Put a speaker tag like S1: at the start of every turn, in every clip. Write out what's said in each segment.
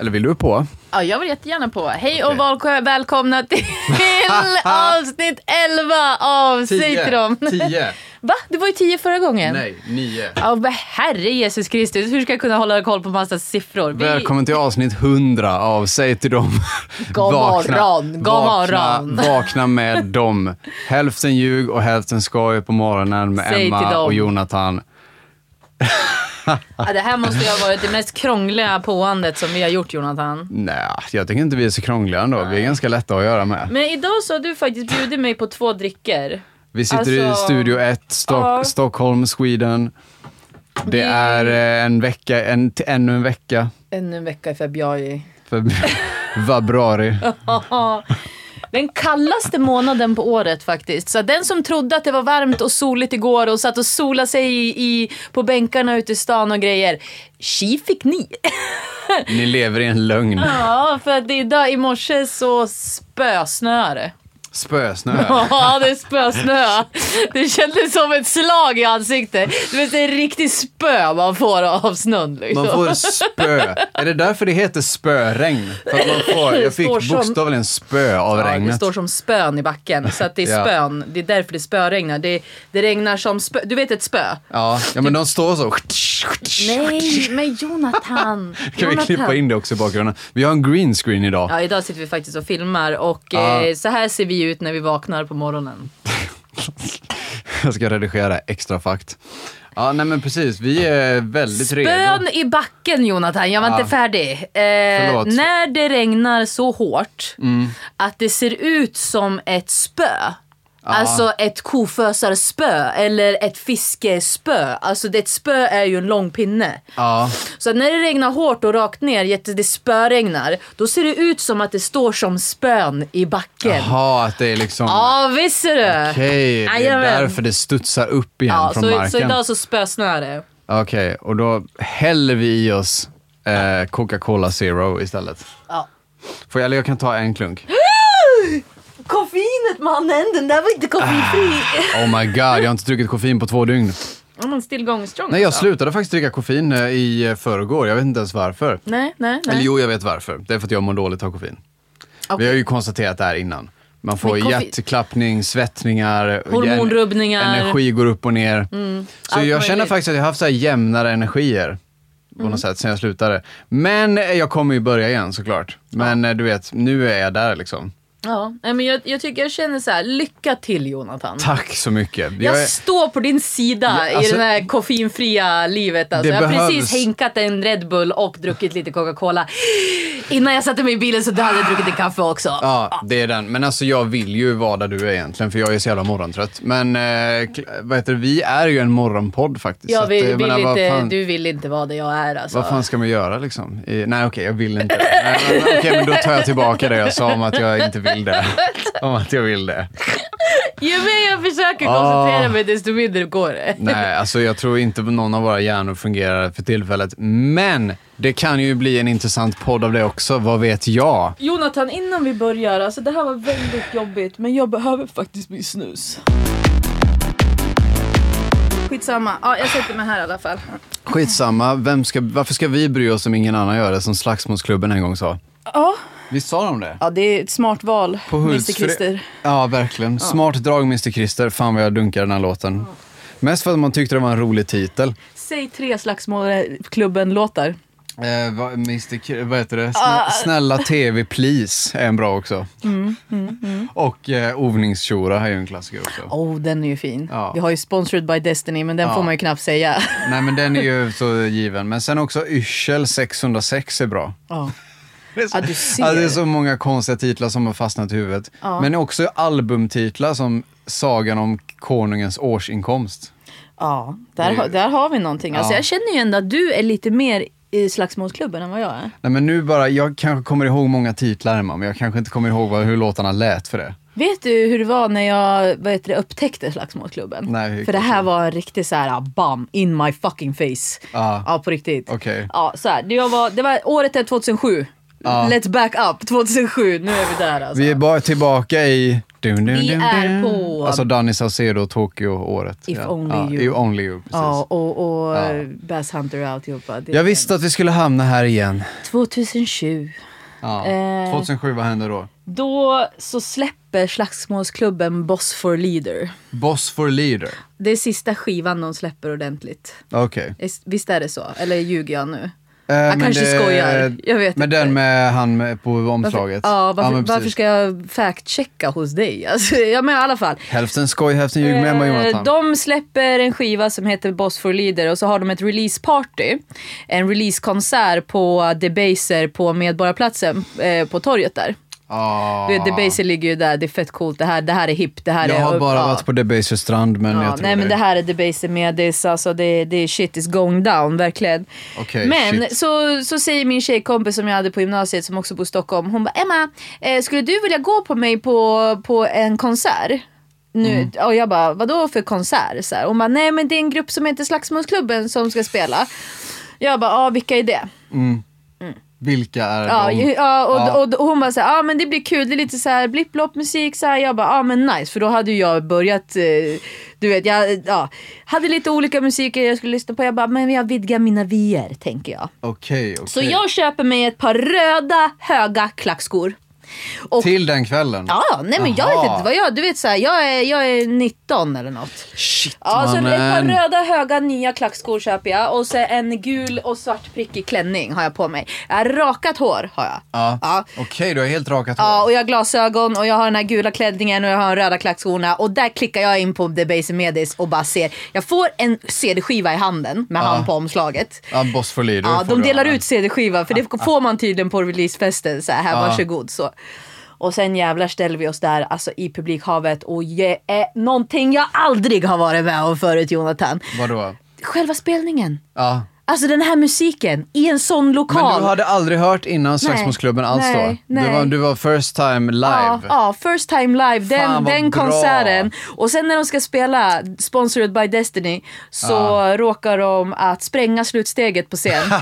S1: Eller vill du på?
S2: Ja, jag vill jättegärna på. Hej och valko- välkomna till avsnitt 11 av Citron.
S1: Tio.
S2: Va? Det var ju 10 förra gången.
S1: Nej, nio.
S2: Ja, men herre Jesus Kristus, hur ska jag kunna hålla koll på massa siffror? Vi-
S1: Välkommen till avsnitt 100 av Säg till dem.
S2: God
S1: Vakna-
S2: morgon, god
S1: vakna,
S2: morgon.
S1: vakna med dem. Hälften ljug och hälften skoj på morgonen med
S2: Säg till
S1: Emma
S2: dem.
S1: och Jonathan.
S2: Ja, det här måste ju ha varit det mest krångliga påandet som vi har gjort, Jonathan.
S1: Nej, jag tycker inte vi är så krångliga ändå. Vi är ganska lätta att göra med.
S2: Men idag så har du faktiskt bjudit mig på två drycker.
S1: Vi sitter i
S2: Alltså,
S1: Studio 1, Stock,
S2: ja.
S1: Stockholm, Sweden. Det
S2: Vi-
S1: är eh, en vecka, en, t- ännu en vecka
S2: Ännu en vecka i februari.
S1: för februari.
S2: Ja. Den kallaste månaden på året faktiskt. Så den som trodde att det var varmt och soligt igår och satt och solade sig i, i, på bänkarna ute i stan och grejer. Tji fick ni!
S1: Ni lever i en lögn.
S2: Ja, för att idag i morse så spösnöar det.
S1: Spösnö.
S2: Ja, det spösnö. Det kändes som ett slag i ansiktet. Du vet, det är riktigt spö man får av snön. Liksom.
S1: Man får spö. Är det därför det heter spöregn? För att man får, jag fick
S2: Står som-
S1: bokstavligen spö av
S2: Ja, det
S1: regnet.
S2: står som spön i backen, så att det är
S1: Ja.
S2: spön. Det är därför det spöregnar. Det, det regnar som spö. Du vet ett spö?
S1: Ja, ja, men de står så.
S2: Nej, men Jonathan.
S1: Kan vi
S2: Jonathan.
S1: klippa in det också i bakgrunden? Vi har en green screen idag.
S2: Ja, idag sitter vi faktiskt och filmar och
S1: Ja.
S2: eh, så här ser vi ut när vi vaknar på morgonen.
S1: Jag ska redigera extra fakt. Ja, nej men precis. Vi är väldigt redo.
S2: Spön i backen Jonathan, jag var
S1: Ja.
S2: inte färdig. Eh,
S1: Förlåt. Mm.
S2: när det regnar så hårt att det ser ut som ett spö. Alltså ett kofösarspö eller ett fiskespö. Alltså det, ett spö är ju en lång pinne.
S1: Ja,
S2: Så att när det regnar hårt och rakt ner, jätte- det spöregnar, då ser det ut som att det står som spön i backen. Ja,
S1: jaha, att det är liksom...
S2: ah, visst ser du!
S1: Okej, det är
S2: Jajamän.
S1: därför det studsar upp igen
S2: Ja,
S1: från
S2: så,
S1: marken.
S2: så idag så spösnöar det.
S1: Okej, och då häller vi i oss eh, Coca-Cola Zero istället.
S2: Ja.
S1: Får jag, eller jag kan ta en klunk.
S2: Koffeinet mannen, den där var inte koffeinfri.
S1: Oh my god, jag har inte druckit koffein på två dygn.
S2: Ja, men still going strong.
S1: Nej, jag
S2: alltså.
S1: slutade faktiskt dricka koffein eh, i eh, förrgår. Jag vet inte ens varför.
S2: Nej, nej, nej.
S1: Eller jo, jag vet varför. Det är för att jag mår dåligt av koffein. Vi
S2: Okej.
S1: har ju konstaterat det här innan. Man får
S2: Men koffein-
S1: hjärtklappning, svettningar,
S2: Hormonrubbningar. Mm.
S1: en- Energi går upp och ner. Så jag
S2: allt
S1: känner
S2: möjligt. Mm.
S1: faktiskt att jag har haft så här jämnare energier på något sätt sen jag slutade. Men eh, jag kommer ju börja igen såklart. Men eh, du vet, nu är jag där liksom.
S2: Ja, nej, men jag, jag tycker jag känner så här, lycka till Jonathan.
S1: Tack så mycket. Jag
S2: Jag
S1: är-
S2: står på din sida
S1: Ja, alltså-
S2: i det här koffeinfria livet. Alltså.
S1: Det
S2: Jag har
S1: behövs.
S2: precis hinkat en Red Bull och druckit lite Coca-Cola. Innan jag satte mig i bilen så hade jag druckit en kaffe också.
S1: Ja, det är den. Men alltså jag vill ju vara där du är egentligen, för jag är så jävla morgontrött. Men eh, kl- vad heter det? vi är ju en morgonpodd faktiskt.
S2: Jag
S1: Så att,
S2: vill,
S1: eh,
S2: vill
S1: menar,
S2: inte,
S1: vad fan,
S2: Du vill inte vara det jag är alltså.
S1: Vad fan ska man göra liksom? I, nej okej, jag vill inte. Nej, men- Okej, men då tar jag tillbaka det jag sa om att jag inte vill det. Om att jag vill det.
S2: Ju mer jag försöker
S1: Ah.
S2: koncentrera mig desto mindre går det.
S1: Nej, alltså jag tror inte någon av våra hjärnor fungerar för tillfället. Men det kan ju bli en intressant podd av det också, vad vet jag?
S2: Jonathan, innan vi börjar, alltså det här var väldigt jobbigt men jag behöver faktiskt min snus. Skitsamma, ja, jag sätter mig här i alla fall.
S1: Skitsamma, vem ska, varför ska vi bry oss om ingen annan gör det, som Slagsmålsklubben en gång sa?
S2: Ja.
S1: Visst sa de det?
S2: ja, det är ett smart val,
S1: På Hultsfred. Ja, verkligen. Smart drag, Mr Christer. Fan vad jag dunkar den här låten. Mest för att man tyckte det var en rolig titel.
S2: Säg tre Slagsmålklubben-låtar.
S1: Eh, vad, Mr. K- vad heter det? Snä,
S2: Ah.
S1: Snälla TV Please är en bra också.
S2: Mm,
S1: Och eh, Ovningstjora är ju en klassiker också.
S2: Oh, den är ju fin.
S1: Ja.
S2: Vi har ju Sponsored by Destiny, men den
S1: Ja.
S2: får man ju knappt säga.
S1: Nej men den är ju så given. Men sen också Yrsel 606 är bra.
S2: Ja.
S1: Det är så,
S2: Ja, du ser.
S1: Ja, det är så många konstiga titlar som har fastnat i huvudet.
S2: Ja.
S1: Men också albumtitlar som Sagan om konungens årsinkomst.
S2: Ja, där,
S1: Det är
S2: har-
S1: ju-
S2: där har vi någonting. Alltså,
S1: Ja.
S2: jag känner ju ändå att du är lite mer i Slagsmålsklubben än vad jag är.
S1: Nej men nu bara, jag kanske kommer ihåg många titlar Emma, men jag kanske inte kommer ihåg vad, hur låtarna lät för det.
S2: Vet du hur det var när jag vad heter det, upptäckte Slagsmålsklubben?
S1: Nej, hur-
S2: För det här var en riktig så här ah, bam, in my fucking face.
S1: Ja.
S2: Ja, på riktigt.
S1: Okej.
S2: Ja, så här. Det, var, det var året är 2007.
S1: Ja.
S2: Let's back up, 2007. Nu är vi där alltså.
S1: Vi är bara tillbaka i Dun, dun,
S2: Vi
S1: dun,
S2: är
S1: dun.
S2: på-
S1: Alltså Danny Saucedo, Tokyo-året.
S2: If
S1: ja.
S2: only
S1: ja,
S2: you.
S1: If only you, precis.
S2: Ja, och, och
S1: Ja.
S2: ja. Bass Hunter och alltihopa. Det-
S1: Jag visste att vi skulle hamna här igen.
S2: 2007.
S1: Ja.
S2: Eh.
S1: 2007, vad hände då?
S2: Då så släpper slagsmålsklubben Boss for Leader.
S1: Boss for Leader.
S2: Det är sista skivan de släpper ordentligt.
S1: Okej.
S2: Is- Visst är det så? Eller ljuger jag nu?
S1: Eh, men
S2: kanske skojar. Jag vet
S1: Men
S2: inte.
S1: den med han med på omslaget.
S2: Ja, varför,
S1: men precis.
S2: varför ska jag fact-checka hos dig? Alltså, ja, men i alla fall.
S1: Hälften skoj, hälften ljug med mig
S2: Eh,
S1: Jonathan.
S2: De släpper en skiva som heter Boss for Leader och så har de ett release party. En releasekonsert på Debaser på Medborgarplatsen eh, på torget där.
S1: Ah.
S2: Du vet, Debaser ligger ju där, det är fett coolt, det här, det här är hippt, det här
S1: Jag
S2: är...
S1: har bara
S2: ja.
S1: varit på Debaser strand men
S2: Ja,
S1: jag tror
S2: nej men det
S1: det.
S2: här är Debaser Medis, alltså det, det är shit is going down, verkligen.
S1: Okej,
S2: men
S1: shit.
S2: så, så säger min tjejkompis som jag hade på gymnasiet som också bor i Stockholm, hon bara Emma, eh, skulle du vilja gå på mig på, på en konsert? Nu,
S1: Mm.
S2: Och jag bara, vadå för konsert? Så här. Hon bara, nej men det är en grupp som heter Slagsmålsklubben som ska spela. Jag bara, ja vilka är det?
S1: Vilka är
S2: Ja,
S1: de?
S2: ju- ja, och,
S1: Ja.
S2: Och, och hon bara såhär, ja ah, men det blir kul, det är lite såhär blipplopp musik så här. Jag bara, ja ah, men nice, för då hade ju jag börjat, eh, du vet, jag ja, hade lite olika musiker jag skulle lyssna på. Jag bara, men jag vidgar mina vyer, tänker jag.
S1: Okej, okej.
S2: Så jag köper mig ett par röda höga klackskor. Och,
S1: Till den kvällen?
S2: Ja, nej men jag vet
S1: Aha.
S2: inte vad jag, du vet såhär, jag är, jag är 19 eller något.
S1: Shit
S2: Ja, så ett par
S1: mannen.
S2: röda höga nya klackskor köper jag och så en gul och svart prickig klänning har jag på mig. Jag har rakat hår har jag.
S1: Ja.
S2: Ja.
S1: Okej, du har helt rakat
S2: Ja,
S1: hår.
S2: och jag har glasögon och jag har den här gula klänningen och jag har de röda klackskorna. Och där klickar jag in på The Basic Medis och bara ser. Jag får en CD-skiva i handen med han på omslaget.
S1: Ja, boss for leader.
S2: Ja,
S1: får
S2: de
S1: du
S2: delar
S1: ha.
S2: ut CD-skiva för det får man tydligen på releasefesten. Så här, här varsågod. Så. Och sen jävlar ställer vi oss där alltså, i publikhavet och ge, eh, någonting jag aldrig har varit med om förut Jonathan.
S1: Vadå?
S2: Själva spelningen.
S1: Ja.
S2: Alltså den här musiken i en sån lokal.
S1: Men du hade aldrig hört innan Slagsmålsklubben alls då?
S2: nej, nej.
S1: Du, var, du var first time live?
S2: Ja, ja, first time live. Den,
S1: Fan, vad
S2: den
S1: bra.
S2: konserten. Och sen när de ska spela Sponsored by Destiny så råkar de att spränga slutsteget på scen.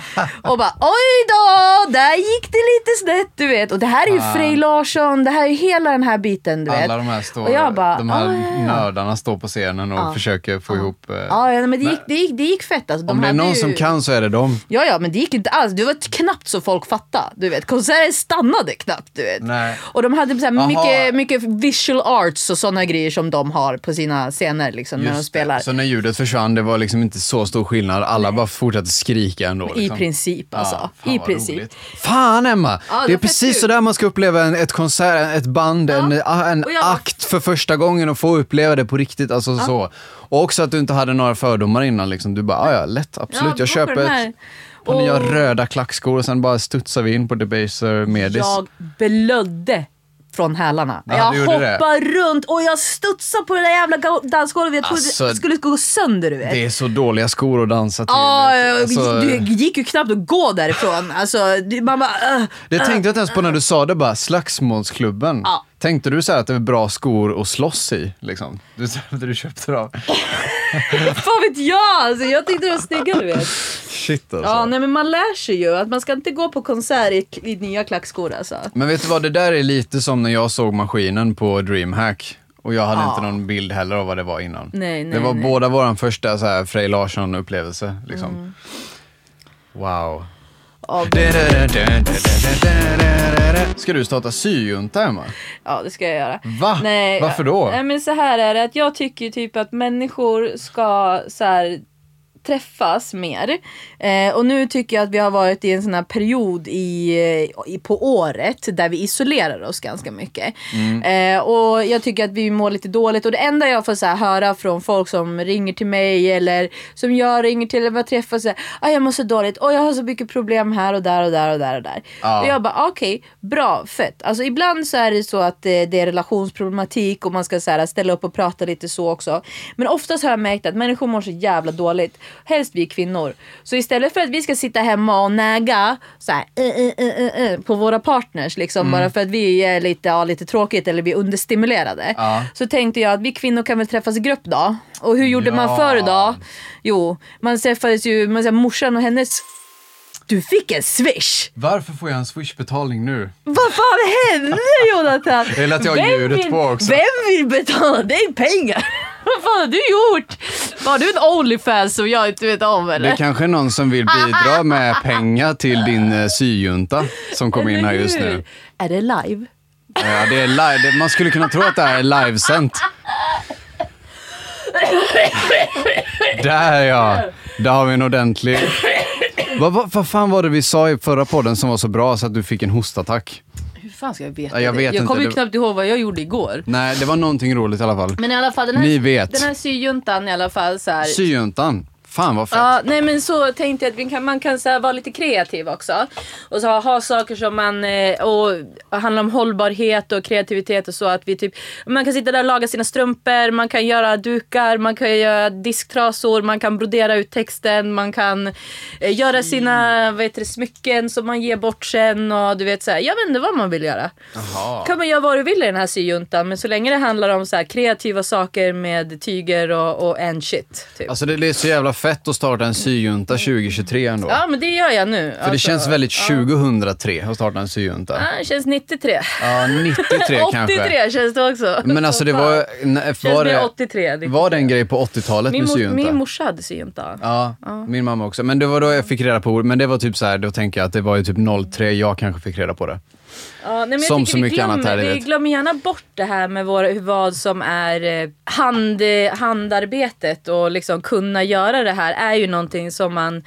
S2: och bara oj då, där gick det lite snett du vet. Och det här är ju
S1: Fan.
S2: Frej Larsson, det här är ju hela den här biten du vet.
S1: Alla de här, står,
S2: och jag bara,
S1: de här
S2: "Ah, ja, ja."
S1: nördarna står på scenen och försöker få ihop... eh,
S2: Ja, ja, men det gick, det gick, det gick fett alltså. De
S1: om det är
S2: hade
S1: någon
S2: ju...
S1: som kan så är det dem.
S2: Ja, ja, men det gick inte alls. Det var t- knappt så folk fattade. Du vet, konserten stannade knappt. Du vet.
S1: Nej.
S2: Och de hade så
S1: Jaha.
S2: här mycket, mycket visual arts och sådana grejer som de har på sina scener liksom, när de
S1: Just det.
S2: spelar.
S1: Så när ljudet försvann, det var liksom inte så stor skillnad. Alla bara fortsatte skrika ändå.
S2: I
S1: liksom.
S2: princip alltså.
S1: Ja, fan
S2: I
S1: vad
S2: princip.
S1: roligt. Fan Emma! det är
S2: Ja, det var fett
S1: precis
S2: kul.
S1: så där man ska uppleva en, ett konsert, ett band, en, ah, en
S2: Och jag bara-
S1: akt för första gången och få uppleva det på riktigt. Alltså så. Och också att du inte hade några fördomar innan. Liksom. Du bara, "Ah, ja lätt, absolut.
S2: då
S1: jag köper
S2: den här.
S1: ett par nya
S2: Och
S1: röda klackskor och sen bara studsar vi in på Debaser Medis.
S2: Jag blödde från hälarna.
S1: Ja, du
S2: jag
S1: gjorde det.
S2: hoppade runt och jag studsade på det där jävla ga- dansgolvet. Jag trodde
S1: Alltså,
S2: det skulle gå sönder du vet.
S1: Det är så dåliga skor att dansa till.
S2: Ja, jag-
S1: Alltså-
S2: det gick ju knappt att gå därifrån. Alltså, det- man bara... "Ugh."
S1: Det tänkte jag inte ens på när du sa det bara, slagsmålsklubben.
S2: Ah. Ja.
S1: Tänkte du så här att det var bra skor att slåss i? Liksom? Du, sa att du köpte dem?
S2: Fan vet jag! Alltså, jag tyckte de var snygga du vet.
S1: Shit alltså.
S2: Ja, nej, men man lär sig ju att man ska inte gå på konsert i, i nya klackskor alltså.
S1: Men vet du vad, det där är lite som när jag såg maskinen på DreamHack. Och jag hade
S2: Ja.
S1: inte någon bild heller av vad det var innan.
S2: Nej, nej,
S1: det var
S2: nej.
S1: båda våran första så här, Frej Larsson-upplevelse. Liksom. Wow.
S2: Mm. Ja,
S1: Ska du starta syjunta, Emma?
S2: ja, det ska jag göra.
S1: Va? Varför då?
S2: Nej, eh, men så här är det att jag tycker ju typ att människor ska så här träffas mer. Eh, och nu tycker jag att vi har varit i en sån här period i, eh, i, på året där vi isolerar oss ganska mycket.
S1: Mm.
S2: Eh, och jag tycker att vi mår lite dåligt och det enda jag får så här höra från folk som ringer till mig eller som jag ringer till eller bara träffas så här, ah, jag mår så dåligt, och jag har så mycket problem här och där och där och där och där.
S1: Ja.
S2: Och jag bara ah, okej, bra, fett. Alltså ibland så är det så att eh, det är relationsproblematik och man ska så här, ställa upp och prata lite så också. Men oftast har jag märkt att människor mår så jävla dåligt. Helst vi kvinnor. Så istället för att vi ska sitta hemma och näga så här, eh, eh, eh, eh, eh, på våra partners
S1: Mm.
S2: liksom bara för att vi är lite, ja, lite tråkigt eller vi är understimulerade.
S1: Ja.
S2: Så tänkte jag att vi kvinnor kan väl träffas i grupp då. Och hur gjorde man
S1: Ja.
S2: förr då? Jo, man träffades ju, man, så här, morsan och hennes Du fick en swish!
S1: Varför får jag en swishbetalning nu?
S2: Vad fan hände Jonathan?
S1: Jag lät jag ha ljudet
S2: vill,
S1: på också.
S2: Vem vill betala dig pengar? Vad fan har du gjort? Var du en Onlyfans som jag inte vet om
S1: Det är
S2: eller?
S1: kanske någon som vill bidra med pengar till din eh, syjunta som kom in här
S2: Eller
S1: just nu.
S2: hur? Är det live?
S1: Ja, det är live. det- Man skulle kunna tro att det här är livesänt. Där ja! Där har vi en ordentlig... Vad, vad, vad fan var det vi sa i förra podden som var så bra så att du fick en hostattack?
S2: Hur fan ska jag veta
S1: Ja, jag
S2: det?
S1: vet
S2: jag
S1: inte,
S2: kommer ju
S1: det-
S2: knappt ihåg vad jag gjorde igår.
S1: Nej, det var någonting roligt i alla fall.
S2: Men i alla fall den här,
S1: Ni vet.
S2: den här syjuntan i alla fall så här.
S1: Syjuntan. Fan vad fett.
S2: Ja, nej men så tänkte jag att vi kan, man kan så här, vara lite kreativ också. Och så ha, ha saker som man, eh, och, och handlar om hållbarhet och kreativitet och så. Att vi typ, man kan sitta där och laga sina strumpor, man kan göra dukar, man kan göra disktrasor, man kan brodera ut texten, man kan eh, göra sina vad heter det, smycken som man ger bort sen och du vet så här, jag vet inte vad man vill göra
S1: Jaha.
S2: kan man göra vad du vill i den här syjuntan men så länge det handlar om så här kreativa saker med tyger och, och and shit. Typ.
S1: Alltså det det är så jävla fett att starta en syjunta 2023 ändå.
S2: ja men det gör jag nu. Alltså,
S1: För det känns väldigt 2003 att starta en syjunta.
S2: Ja, det känns 93.
S1: Ja, 93 kanske.
S2: 83 känns det också.
S1: Men alltså det var... nej,
S2: Känns
S1: Var
S2: mer
S1: det,
S2: 83. det-
S1: var det en grej på 80-talet
S2: min,
S1: med
S2: mor,
S1: syjunta?
S2: min morsa hade syjunta.
S1: Ja, min mamma också. Men det var då jag fick reda på ordet. Men det var typ så här, då tänker jag att det var ju typ 03 jag kanske fick reda på det.
S2: Ja, nej, men jag
S1: Som
S2: tycker
S1: så
S2: vi
S1: mycket annat här i
S2: glömmer- Vi
S1: livet.
S2: glömmer gärna bort det här med våra, hur- vad som är eh, hand, eh, handarbetet och liksom kunna göra det här är ju någonting som man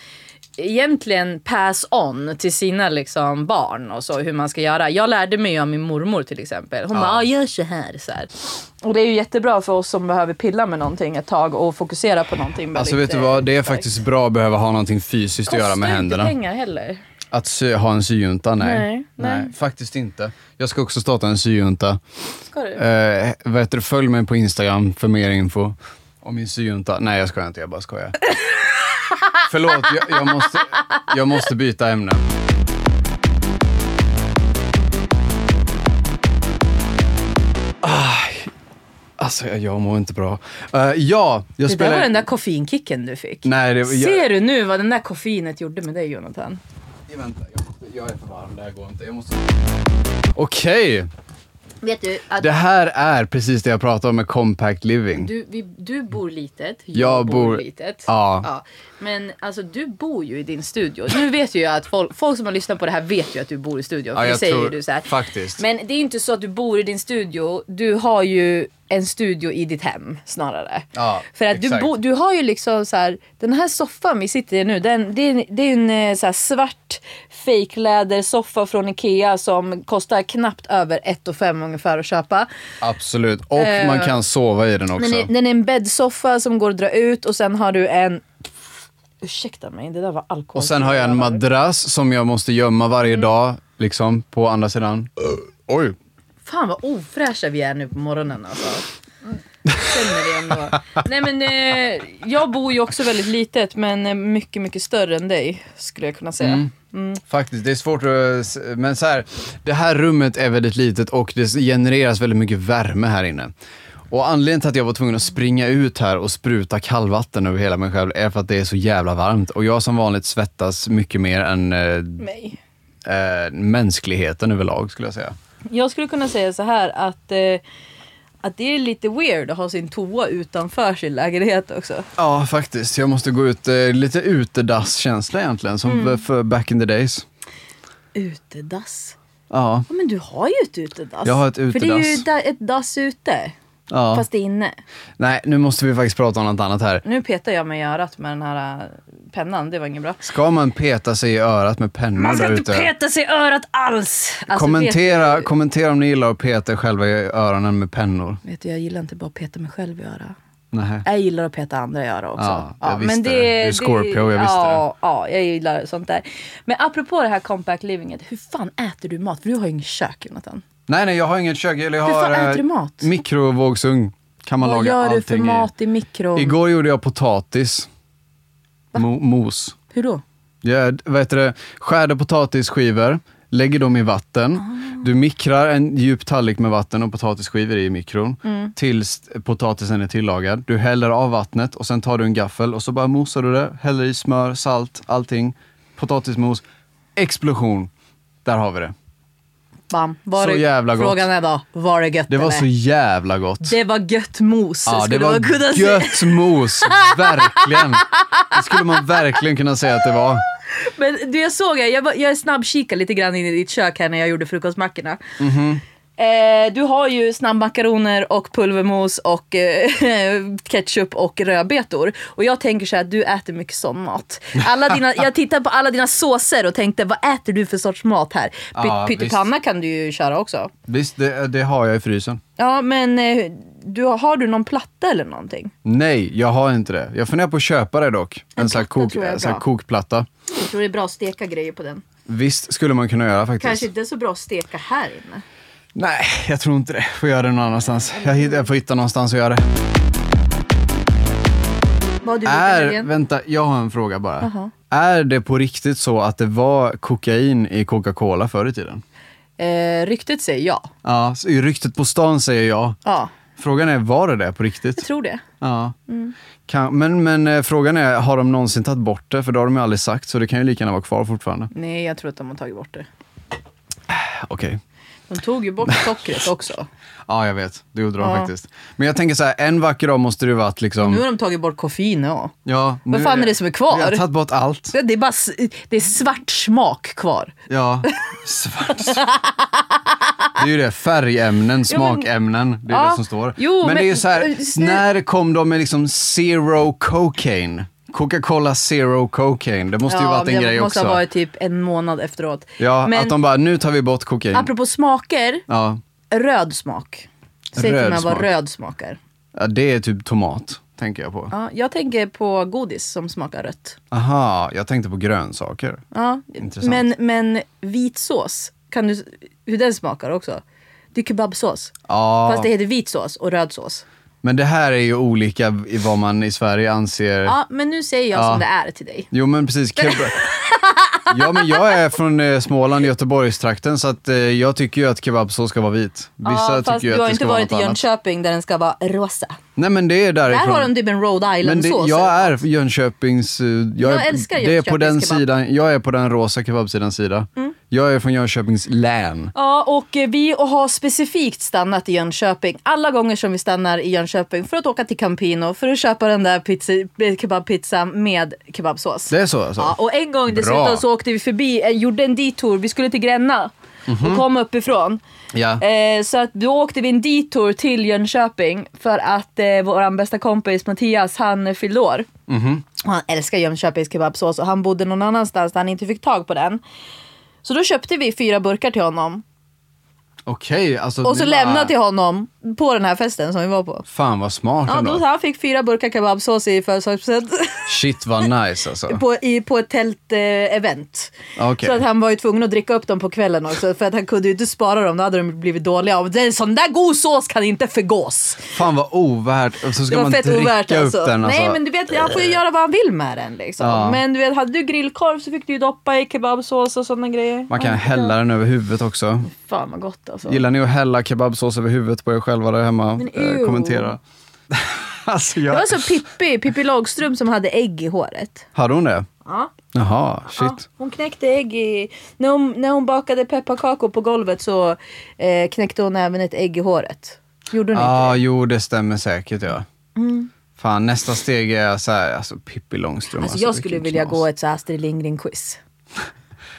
S2: egentligen pass on till sina liksom barn och så hur man ska göra. Jag lärde mig ju av min mormor till exempel. Hon bara, ah, gör så här, så här. Och det är ju jättebra för oss som behöver pilla med någonting ett tag och fokusera på någonting.
S1: Alltså vet
S2: väldigt,
S1: du vad,
S2: eh,
S1: det är
S2: starkt.
S1: faktiskt bra att behöva ha någonting fysiskt att göra med
S2: Kostar
S1: händerna.
S2: inte pengar heller.
S1: Att sy, ha en syjunta, nej.
S2: Nej, nej.
S1: Faktiskt inte. Jag ska också starta en syjunta.
S2: Ska du?
S1: Eh, vad heter det, följ mig på Instagram för mer info om min syjunta. Nej, jag skojar inte. Jag bara skojar. Förlåt, jag, jag, måste, jag måste byta ämne. Aj. Alltså, jag, jag mår inte bra. Eh, ja, jag
S2: Det där
S1: spelar...
S2: var den där koffeinkicken du fick.
S1: Nej, det, jag,
S2: Ser du nu vad den där koffeinet gjorde med dig Jonathan?
S1: vänta, jag, måste, jag är för varm. Det här går inte. Jag måste... Okej,
S2: Vet du att
S1: det här är precis det jag pratade om med compact living.
S2: du, vi, du bor litet, jag,
S1: Jag
S2: bor,
S1: bor-
S2: litet.
S1: Ja.
S2: Men alltså du bor ju i din studio. Nu vet ju jag att folk, folk som har lyssnat på det här vet ju att du bor i
S1: Ja,
S2: studion. för det
S1: jag
S2: säger
S1: tror-
S2: du så här.
S1: faktiskt.
S2: Men det är inte så att du bor i din studio. Du har ju en studio i ditt hem snarare.
S1: Ja,
S2: För att du,
S1: exakt.
S2: bo, du har ju liksom så här, den här soffan vi sitter i nu, den, det, är, det är en eh, så här svart fejklädersoffa från Ikea som kostar knappt över 1 5 ungefär att köpa.
S1: Absolut, och
S2: Eh,
S1: man kan sova i den också.
S2: Men det, den är en bäddsoffa som går att dra ut och sen har du en... Ursäkta mig, det där var alkohol.
S1: Och sen har jag en madrass som jag måste gömma varje
S2: Mm.
S1: dag, liksom, på andra sidan. Oj!
S2: Fan vad ofräscha vi är nu på morgonen alltså. Känner det ändå. Nej men eh, jag bor ju också väldigt litet men eh, mycket, mycket större än dig skulle jag kunna säga.
S1: Mm.
S2: Mm.
S1: Faktiskt, det är svårt att... s- Men så här, det här rummet är väldigt litet och det genereras väldigt mycket värme här inne. Och anledningen till att jag var tvungen att springa ut här och spruta kallvatten över hela mig själv är för att det är så jävla varmt. Och jag som vanligt svettas mycket mer än eh,
S2: Mig.
S1: eh, mänskligheten överlag, skulle jag säga.
S2: Jag skulle kunna säga så här att, eh, att det är lite weird att ha sin toa utanför sin lägenhet också.
S1: Ja, faktiskt. Jag måste gå ut. Eh, lite utedasskänsla egentligen, som
S2: Mm.
S1: för back in the days.
S2: Utedass.
S1: Ja.
S2: Ja men du har ju ett utedass.
S1: Jag har ett
S2: För det är ju
S1: utedass.
S2: da- ett dass ute.
S1: ja.
S2: Fast det är inne.
S1: Nej, nu måste vi faktiskt prata om något annat här.
S2: Nu petar jag mig i örat med den här eh, pennan, det var inget bra.
S1: Ska man peta sig i örat med pennor
S2: Man ska
S1: där
S2: inte
S1: ute?
S2: peta sig i örat alls! Alltså,
S1: kommentera,
S2: Vet,
S1: kommentera om ni gillar att peta er själva i öronen med pennor.
S2: vet du, jag gillar inte bara att peta mig själv i örat.
S1: Nej.
S2: Jag gillar att peta andra i örat också.
S1: Ja, jag visste det. Du är Scorpio, jag visste
S2: ja, Ja, jag gillar sånt där. Men apropå det här compact livinget, hur fan äter du mat? För du har ju inget kök Jonathan.
S1: nej, nej, jag har inget kök. Eller jag
S2: Hur
S1: har
S2: fan äter
S1: eh,
S2: du mat?
S1: mikrovågsugn. Kan man
S2: Vad
S1: laga
S2: gör du för
S1: allting
S2: mat i mikron?
S1: i. Igår gjorde jag potatis. Mo- mos.
S2: Hur då?
S1: Jag vad heter det, skärde potatisskivor, lägger dem i vatten.
S2: Ah.
S1: Du mikrar en djup tallrik med vatten och potatisskivor i mikron
S2: Mm.
S1: tills potatisen är tillagad. Du häller av vattnet och sen tar du en gaffel och så bara mosar du det, häller i smör, salt, allting. potatismos, explosion. Där har vi det.
S2: Bam. Var
S1: Så
S2: det,
S1: jävla gott.
S2: Frågan är då, var det gött
S1: Det var
S2: eller?
S1: så jävla gott.
S2: Det var gött mos,
S1: Ja, det
S2: skulle man kunna
S1: var
S2: säga.
S1: gött mos, verkligen. Det skulle man verkligen kunna säga att det var.
S2: Men du, jag såg, jag, jag, var- jag snabbkikade lite grann in i ditt kök här när jag gjorde frukostmackorna.
S1: Mhm.
S2: Eh, du har ju snabbmakaroner och pulvermos och eh, ketchup och rödbetor. Och jag tänker så här att du äter mycket sån mat. Alla dina, jag tittade på alla dina såser och tänkte vad äter du för sorts mat här? Py-
S1: Ja,
S2: Pyttipanna kan du ju köra också.
S1: Visst, det, det har jag i frysen.
S2: Ja men eh, du, har du någon platta eller någonting?
S1: Nej, jag har inte det. Jag funderar på att köpa det dock. En, sån, här
S2: platta
S1: kok,
S2: tror jag är
S1: en sån här
S2: bra.
S1: kokplatta.
S2: Jag tror det är bra att steka grejer på den.
S1: Visst skulle man kunna göra faktiskt.
S2: Kanske inte så bra att steka här inne.
S1: Nej, jag tror inte det. Får göra det någon annanstans. Jag, hitt- jag får hitta någonstans att göra det.
S2: Vad du
S1: Är, vänta, jag har en fråga bara. Är det på riktigt så att det var kokain i Coca-Cola förr i tiden?
S2: Eh, ryktet säger ja.
S1: Ja, så i ryktet på stan säger jag.
S2: Ja,
S1: Frågan är, var det det på riktigt?
S2: jag tror det.
S1: Ja.
S2: Mm.
S1: Kan, men, men eh, frågan är, har de någonsin tagit bort det? För det har de ju aldrig sagt, så det kan ju lika gärna vara kvar fortfarande.
S2: Nej, jag tror att de har tagit bort det.
S1: Okej.
S2: De tog ju bort sockret också.
S1: Ja, jag vet. Det gjorde de
S2: Ja.
S1: faktiskt. Men jag tänker så här, en vacker dag måste det ju varit liksom...
S2: Nu har de tagit bort koffein ja.
S1: ja, nu
S2: fan är det som är kvar?
S1: Vi har tagit bort allt.
S2: Det är bara s- det är svart smak kvar.
S1: Ja, svart. Det är ju det, färgämnen, smakämnen. Det är
S2: Ja,
S1: det som står.
S2: jo,
S1: men,
S2: men-
S1: det är ju så här,
S2: eh, snu-
S1: när kom de med liksom zero cocaine? Coca-Cola zero cocaine. Det måste ju varit
S2: men
S1: en
S2: det
S1: grej
S2: måste
S1: också.
S2: ha varit typ en månad efteråt.
S1: Ja,
S2: men
S1: att de bara, nu tar vi bort kokain.
S2: apropå smaker,
S1: Ja.
S2: röd smak. Säg
S1: Röd
S2: till mig
S1: smak.
S2: vad röd smakar.
S1: ja, det är typ tomat, tänker jag på.
S2: Ja, jag tänker på godis som smakar rött.
S1: Aha, jag tänkte på grönsaker.
S2: Ja,
S1: Intressant.
S2: men, men vit sås, kan du, s- hur den smakar också. Det är kebabsås.
S1: Ja,
S2: Fast det heter vit sås och röd sås.
S1: men det här är ju olika i vad man i Sverige anser.
S2: Ja, men nu säger jag
S1: Ja.
S2: som det är till dig.
S1: Jo, men precis. Kebab. Ja, men jag är från eh, Småland, Göteborgstrakten, så att, eh, jag tycker ju att kebabsås ska vara vit. Vissa
S2: ja, fast
S1: tycker ju
S2: du
S1: att
S2: har
S1: det
S2: inte
S1: ska vara något
S2: varit i
S1: annat.
S2: Jönköping där den ska vara rosa.
S1: Nej, men det är
S2: Där
S1: därifrån.
S2: har de typ en Rhode
S1: men det,
S2: Island-sås.
S1: jag är Jönköpings... eh, Jag,
S2: Jag
S1: är,
S2: älskar
S1: det är på
S2: Jönköpings
S1: den
S2: kebab. Mm.
S1: sidan, Jag är på den rosa kebabsidans sida. Jag är från Jönköpings län.
S2: Ja, och eh, vi har specifikt stannat i Jönköping alla gånger som vi stannar i Jönköping för att åka till Campino för att köpa den där pizza, eh, kebabpizzan med kebabsås.
S1: Det är så alltså?
S2: Ja, och en gång dessutom
S1: Bra.
S2: så åkte vi förbi, eh, gjorde en detour, vi skulle till Gränna
S1: Mhm.
S2: och kom uppifrån.
S1: Ja.
S2: Eh, så att då åkte vi en detour till Jönköping för att eh, vår bästa kompis Mattias han eh, fyllde år.
S1: Mhm.
S2: Och han älskar Jönköpings kebabsås och han bodde någon annanstans där han inte fick tag på den. Så då köpte vi fyra burkar till honom
S1: Okej, alltså...
S2: och så
S1: det var-
S2: lämnade till honom på den här festen som vi var på.
S1: Fan vad smart
S2: Ja,
S1: ändå.
S2: då, han fick fyra burkar kebabsås i födelsedagspresent
S1: Shit vad nice alltså.
S2: på, i- på ett tält-event.
S1: Okej.
S2: Så att han var ju tvungen att dricka upp dem på kvällen också för att han kunde ju inte spara dem, då hade de blivit dåliga. Och det är en sån där god sås kan inte förgås.
S1: Fan vad ovärt. Och så ska
S2: Det var
S1: man
S2: fett
S1: dricka
S2: ovärt
S1: upp
S2: alltså.
S1: den alltså.
S2: Nej men du vet, han får ju göra vad han vill med den liksom.
S1: Ja.
S2: Men du vet, hade du grillkorv så fick du ju doppa i kebabsås och sådana grejer.
S1: Man kan
S2: Ja,
S1: hälla den över huvudet också.
S2: Fan vad gott alltså.
S1: Gillar ni att hälla kebabsås över huvudet på er själva där hemma?
S2: Men
S1: eh,
S2: ew.
S1: kommentera. alltså
S2: Det
S1: jag...
S2: var så Pippi, Pippi Långstrump som hade ägg i håret.
S1: Hade hon det?
S2: Ja.
S1: Jaha,
S2: Ja,
S1: shit.
S2: hon knäckte ägg i... När hon, när hon bakade pepparkakor på golvet så eh, knäckte hon även ett ägg i håret. Gjorde
S1: Ja,
S2: Alltså, hon inte det? Mm.
S1: ah, jo det stämmer säkert ja. Fan, nästa steg är så här, alltså Pippi Långstrump.
S2: Alltså, jag skulle
S1: vilken
S2: vilja
S1: knas.
S2: gå ett så här Astrid Lindgren-quiz.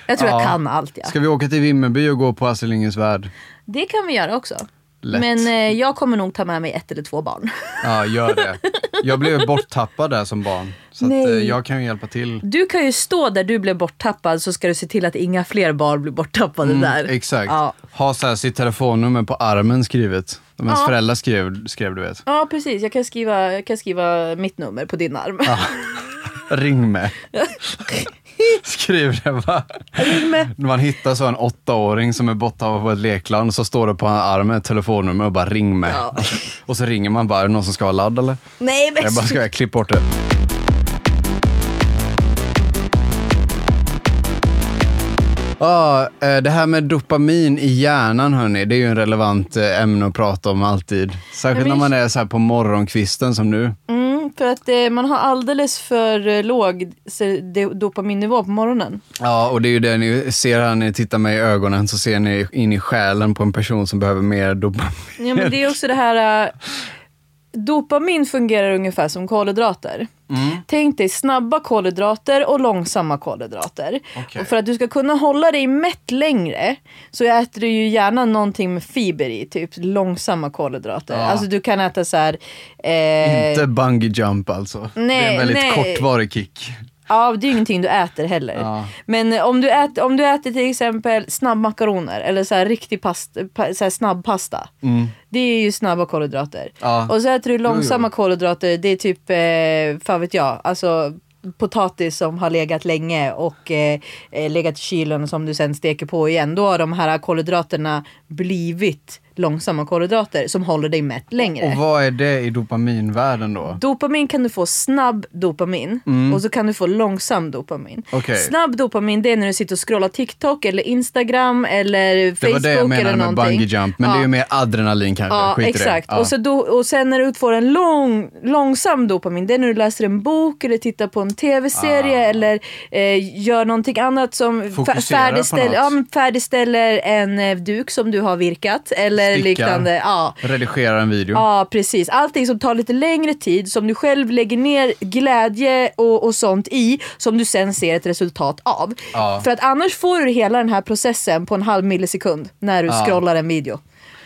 S2: Jag tror
S1: Ja.
S2: jag kan allt. Ja.
S1: Ska vi åka till Vimmerby och gå på Astrid Lindgrens Värld?
S2: Det kan vi göra också.
S1: Lätt.
S2: Men eh, jag kommer nog ta med mig ett eller två barn.
S1: Ja, gör det. Jag blev borttappad där som barn. Så att,
S2: Nej.
S1: eh, jag kan ju hjälpa till.
S2: Du kan ju stå där du blev borttappad så ska du se till att inga fler barn blir borttappade
S1: Mm,
S2: där.
S1: Exakt.
S2: Ja.
S1: Ha så här sitt telefonnummer på armen skrivet. Som ens
S2: Ja.
S1: föräldrar skrev, skrev, du vet.
S2: Ja precis, jag kan, skriva, jag kan skriva mitt nummer på din arm.
S1: Ring mig. Skriv det va? Ring mig. Man hittar så en åttaåring som är borttappad på ett lekland så står det på hans arm ett telefonnummer och bara ring mig.
S2: Ja.
S1: och så ringer man bara, är det någon som ska ha ladd eller?
S2: Nej men
S1: Jag bara, ska jag klippa bort det? Ja, eh, det här med dopamin i hjärnan hörni, det är ju en relevant eh, ämne att prata om alltid. Särskilt
S2: Men
S1: när
S2: vi-
S1: man är så här på morgonkvisten som nu.
S2: Mm, för att eh, man har alldeles för eh, låg se- de- dopaminnivå på morgonen.
S1: Ja, och det är ju det ni ser här när ni tittar mig i ögonen, så ser ni in i själen på en person som behöver mer dopamin.
S2: Ja, men det är också det här... eh, dopamin fungerar ungefär som kolhydrater.
S1: Mm.
S2: Tänk dig snabba kolhydrater och långsamma kolhydrater.
S1: Okej.
S2: Och för att du ska kunna hålla dig mätt längre så äter du ju gärna någonting med fiber i, typ långsamma kolhydrater.
S1: Ja.
S2: Alltså du kan äta så här... eh,
S1: Inte bungee jump alltså. det är en
S2: nej,
S1: väldigt
S2: nej.
S1: kortvarig kick.
S2: Ja, det är ju ingenting du äter heller.
S1: Ja.
S2: Men eh, om du, äter, om du äter till exempel snabbmakaroner eller så här riktig past, pa, så här snabbpasta.
S1: Mm.
S2: Det är ju snabba kolhydrater.
S1: Ja.
S2: Och så äter du
S1: jo.
S2: långsamma kolhydrater, det är typ, eh, fan vet jag, alltså potatis som har legat länge och eh, eh, legat i kylen som du sen steker på igen. Då har de här kolhydraterna blivit långsamma kolhydrater som håller dig mätt längre.
S1: Och vad är det i dopaminvärlden då?
S2: Dopamin kan du få snabb dopamin och så kan du få långsam dopamin.
S1: Mm. Okej.
S2: Snabb dopamin det är när du sitter och scrollar TikTok eller Instagram eller
S1: Det var
S2: Facebook
S1: det jag menade
S2: eller
S1: med
S2: någonting.
S1: bungee jump, men det är ju
S2: Ja.
S1: mer adrenalin kanske.
S2: Ja,
S1: Skit i
S2: exakt.
S1: Det. Ja.
S2: Och, så do, och sen när du får en lång, långsam dopamin, det är när du läser en bok eller tittar på en tv-serie eller eh, gör någonting annat som fa-
S1: Ah. Fokuserar på något.
S2: ja, men färdigställer en eh, duk som du har virkat eller
S1: Stickar.
S2: liknande. Ja.
S1: Redigera en video.
S2: Ja, precis. Allting som tar lite längre tid, som du själv lägger ner glädje och, och sånt i, som du sen ser ett resultat av.
S1: Ja.
S2: För att annars får du hela den här processen på en halv millisekund när du
S1: Ja.
S2: scrollar en video.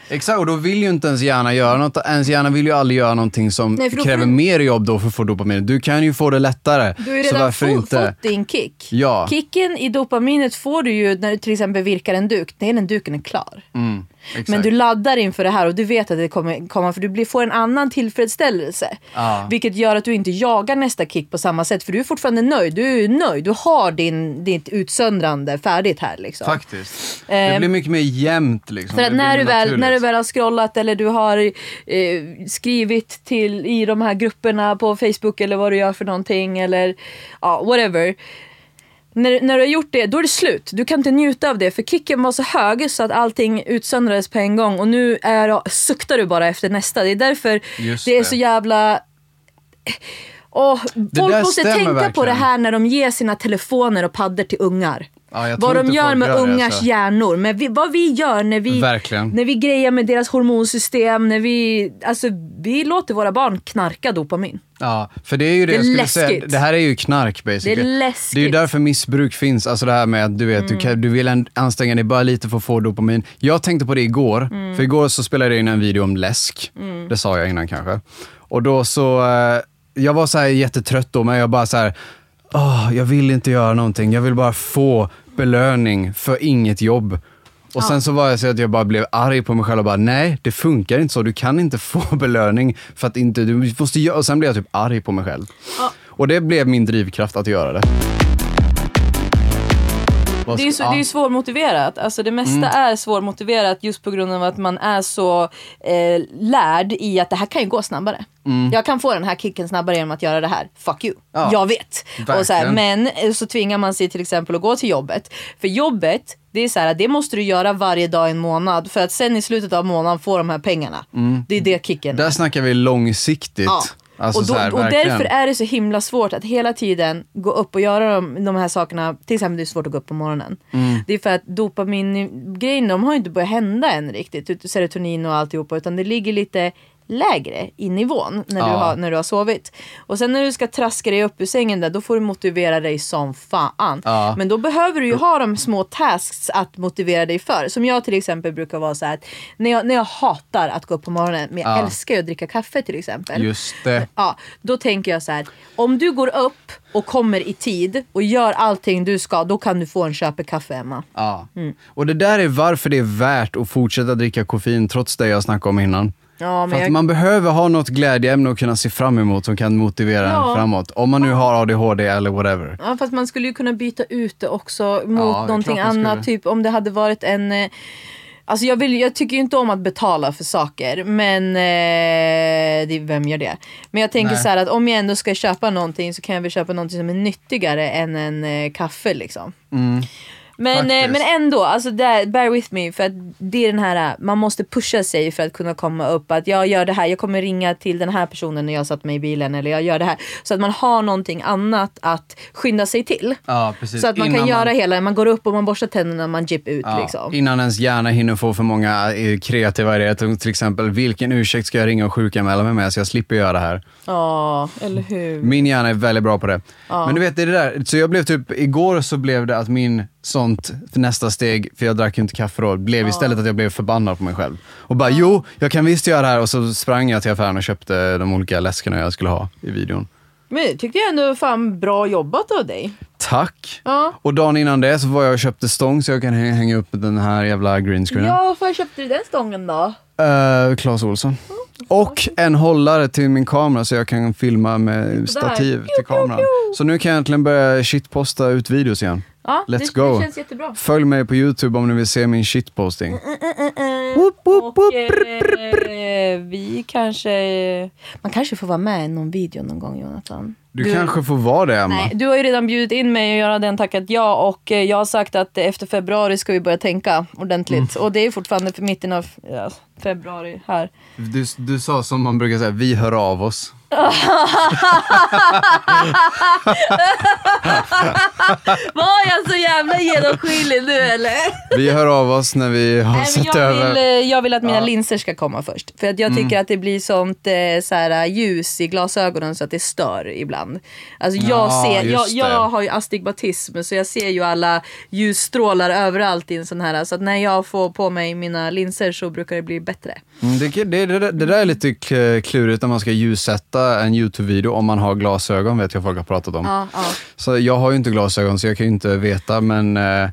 S1: Exakt, och då vill ju inte ens hjärna göra något. Ens hjärna vill ju aldrig göra någonting som
S2: Nej, för då får
S1: kräver
S2: du-
S1: mer jobb då för att få dopamin. Du kan ju få det lättare.
S2: Du har ju
S1: så
S2: redan
S1: varför
S2: få,
S1: inte?
S2: fått din kick.
S1: Ja.
S2: Kicken i dopaminet får du ju när du till exempel virkar en duk. Nej, den duken är klar.
S1: Mm, exakt.
S2: Men du laddar inför det här och du vet att det kommer komma för du blir, får en annan tillfredsställelse.
S1: Ja.
S2: Vilket gör att du inte jagar nästa kick på samma sätt för du är fortfarande nöjd. Du är ju nöjd, du har din, ditt utsöndrande färdigt här. Liksom.
S1: Faktiskt. det
S2: Ehm,
S1: blir mycket mer jämnt liksom.
S2: För att
S1: Det blir
S2: när du,
S1: mer
S2: väl, när du
S1: naturligt.
S2: väl har scrollat eller du har eh, skrivit till, i de här grupperna på Facebook eller vad du gör för någonting eller ja, whatever. När, när du har gjort det, då är det slut. Du kan inte njuta av det för kicken var så hög så att allting utsöndrades på en gång och nu är, suktar du bara efter nästa. Det är därför
S1: Just
S2: det är
S1: det.
S2: så jävla... Åh, folk
S1: där
S2: måste
S1: stämmer
S2: tänka på det
S1: verkligen.
S2: här när de ger sina telefoner och paddor till ungar.
S1: Ja, jag
S2: vad
S1: tror
S2: de
S1: inte
S2: gör
S1: folk
S2: med
S1: gör det,
S2: ungars
S1: alltså.
S2: hjärnor. Men vi, vad vi gör när vi,
S1: Verkligen.
S2: när vi grejer med deras hormonsystem, när vi, alltså, vi låter våra barn knarka dopamin.
S1: Ja, för det är ju det,
S2: Det är
S1: jag skulle säga.
S2: läskigt.
S1: Det här är ju knark basically.
S2: Det är läskigt.
S1: Det är ju därför missbruk finns. Alltså det här med att du vet, du, kan, du vill en- anstränga dig bara lite för att få dopamin. Jag tänkte på det igår, för igår så spelade jag in en video om läsk. Det sa jag innan kanske. Och då så, eh, jag var så här jättetrött då, men jag bara så här, "Åh, jag vill inte göra någonting. Jag vill bara få belöning för inget jobb. Och sen så var jag så att jag bara blev arg på mig själv och bara nej, det funkar inte så. Du kan inte få belöning för att inte, du måste göra. Och sen blev jag typ arg på mig själv.
S2: Ja.
S1: Och det blev min drivkraft att göra det. Vad
S2: Det är ju
S1: ska-
S2: så,
S1: ja. Mm.
S2: det är ju svårmotiverat. Alltså det mesta är svårmotiverat just på grund av att man är så eh, lärd i att det här kan ju gå snabbare. Jag kan få den här kicken snabbare genom att göra det här. Fuck you.
S1: Mm. Ja.
S2: Jag vet. Och så här,
S1: Verkligen.
S2: men eh, så tvingar man sig till exempel att gå till jobbet. För jobbet, det är så här, det måste du göra varje dag i en månad för att sen i slutet av månaden få de här pengarna.
S1: Mm.
S2: Det är det kicken
S1: Där snackar vi långsiktigt.
S2: Ja.
S1: Alltså
S2: och, då,
S1: så här,
S2: och
S1: verkligen.
S2: därför är det så himla svårt att hela tiden gå upp och göra de, de här sakerna. Till exempel det är svårt att gå upp på morgonen.
S1: Mm.
S2: Det är för att dopamingrejen, de har ju inte börjat hända än riktigt. ut- Serotonin och alltihopa. Utan det ligger lite lägre i nivån när, du
S1: Ja.
S2: har, när du har sovit. Och sen när du ska traska dig upp ur sängen där, då får du motivera dig som fan.
S1: Ja.
S2: Men då behöver du ju ha de små tasks att motivera dig för. Som jag till exempel brukar vara så här att när jag, när jag hatar att gå upp på morgonen, men jag
S1: Ja.
S2: älskar ju att dricka kaffe till exempel.
S1: Just det.
S2: Ja, då tänker jag så här. Om du går upp och kommer i tid och gör allting du ska, då kan du få en köpekaffe Emma.
S1: Ja.
S2: Mm.
S1: Och det där är varför det är värt att fortsätta dricka koffein trots det jag snackade om innan.
S2: Ja,
S1: För
S2: men
S1: att
S2: jag,
S1: man behöver ha något glädjeämne att kunna se fram emot som kan motivera en
S2: Ja.
S1: framåt. Om man nu har ADHD eller whatever.
S2: ja, fast man skulle ju kunna byta ut det också mot
S1: Ja, det är
S2: någonting
S1: klart man
S2: annat.
S1: skulle.
S2: Typ om det hade varit en... eh, Alltså jag, vill, jag tycker ju inte om att betala för saker, men eh, det, vem gör det? Men jag tänker
S1: Nej.
S2: så här att om jag ändå ska
S1: Mm.
S2: köpa någonting så kan jag väl köpa någonting som är nyttigare än en eh, kaffe liksom. Men, eh,
S1: Faktiskt.
S2: men ändå, alltså där, bear with me. För att det är den här, eh, man måste pusha sig för att kunna komma upp. Att jag gör det här, jag kommer ringa till den här personen när jag satt mig i bilen. Eller jag gör det här. Så att man har någonting annat att skynda sig till.
S1: Ja, precis.
S2: Så att man kan
S1: Innan
S2: göra hela, man går upp och man borstar tänderna och man jipp ut
S1: Ja,
S2: liksom.
S1: Innan ens hjärna hinner få för många eh, kreativa idéer. Till till exempel, vilken ursäkt ska jag ringa och sjukanmäla mig med så jag slipper göra det här?
S2: Ja, eller hur.
S1: Min hjärna är väldigt bra på det. Men du vet, det är det där. Så jag blev typ, igår så blev det att min sånt för nästa steg, för jag drack ju inte kaffe då, blev istället att jag blev förbannad på mig själv. Och bara, jo, jag kan visst göra det här. Och så sprang jag till affären och köpte de olika läskerna jag skulle ha i videon.
S2: Men det tyckte jag ändå fan bra jobbat av dig.
S1: Tack!
S2: Ja.
S1: Och dagen innan det så var jag och köpte stång så jag kan häng- hänga upp den här jävla greenscreenen.
S2: Ja, varför köpte du den stången då?
S1: Eh, Claes Olsson. Och en hållare till min kamera så jag kan filma med stativ till kameran. Så nu kan jag äntligen börja shitposta ut videos igen.
S2: Ja,
S1: Let's
S2: det,
S1: go.
S2: det känns jättebra.
S1: Följ mig på YouTube om ni vill se min shitposting.
S2: Och eh, vi kanske... Man kanske får vara med i någon video någon gång Jonathan.
S1: Du kanske får vara det Emma.
S2: Nej, du har ju redan bjudit in mig att göra den tackat ja och eh, jag har sagt att eh, efter februari ska vi börja tänka ordentligt.
S1: Mm.
S2: Och det är fortfarande för mitten av ja, februari här.
S1: Du, du sa som man brukar säga, vi hör av oss.
S2: Var jag så jävla genomskinlig nu eller?
S1: Vi hör av oss när vi har
S2: Nej, men
S1: sett
S2: jag,
S1: över.
S2: vill, eh, jag vill att mina
S1: Ja. Mm.
S2: linser ska komma först. För att jag tycker att det blir sånt eh, så här, ljus i glasögonen så att det stör ibland. Alltså jag,
S1: Ja,
S2: ser, jag,
S1: just det.
S2: jag har ju astigmatism så jag ser ju alla ljusstrålar överallt i en sån här. Så att när jag får på mig mina linser så brukar det bli bättre.
S1: Mm, Det, det, det, det där är lite k- klurigt när man ska ljussätta en YouTube-video om man har glasögon vet jag folk har pratat om.
S2: Ja, ja.
S1: Så jag har ju inte glasögon så jag kan ju inte veta men eh, jag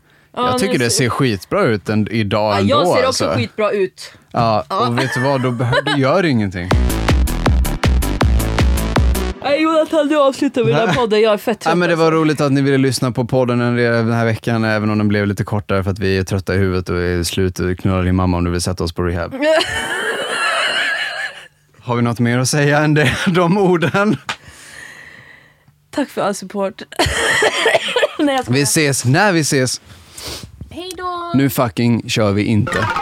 S2: nu
S1: tycker det
S2: ser-
S1: ser skitbra ut en, idag
S2: Ja,
S1: ändå.
S2: jag ser också
S1: alltså.
S2: skitbra ut.
S1: Ja, och vet du vad, då behöver, det gör ingenting.
S2: Nej Jonathan du avslutar med den här podden, jag är fett
S1: Ja,
S2: trött.
S1: men det var roligt att ni ville lyssna på podden den här veckan, även om den blev lite kortare för att vi är trötta i huvudet och är slut. Knulla din mamma om du vill sätta oss på rehab. Har vi något mer att säga än det, de orden?
S2: Tack för all support. Nej, jag ska...
S1: Vi ses när vi ses.
S2: Hej då!
S1: Nu fucking kör vi inte.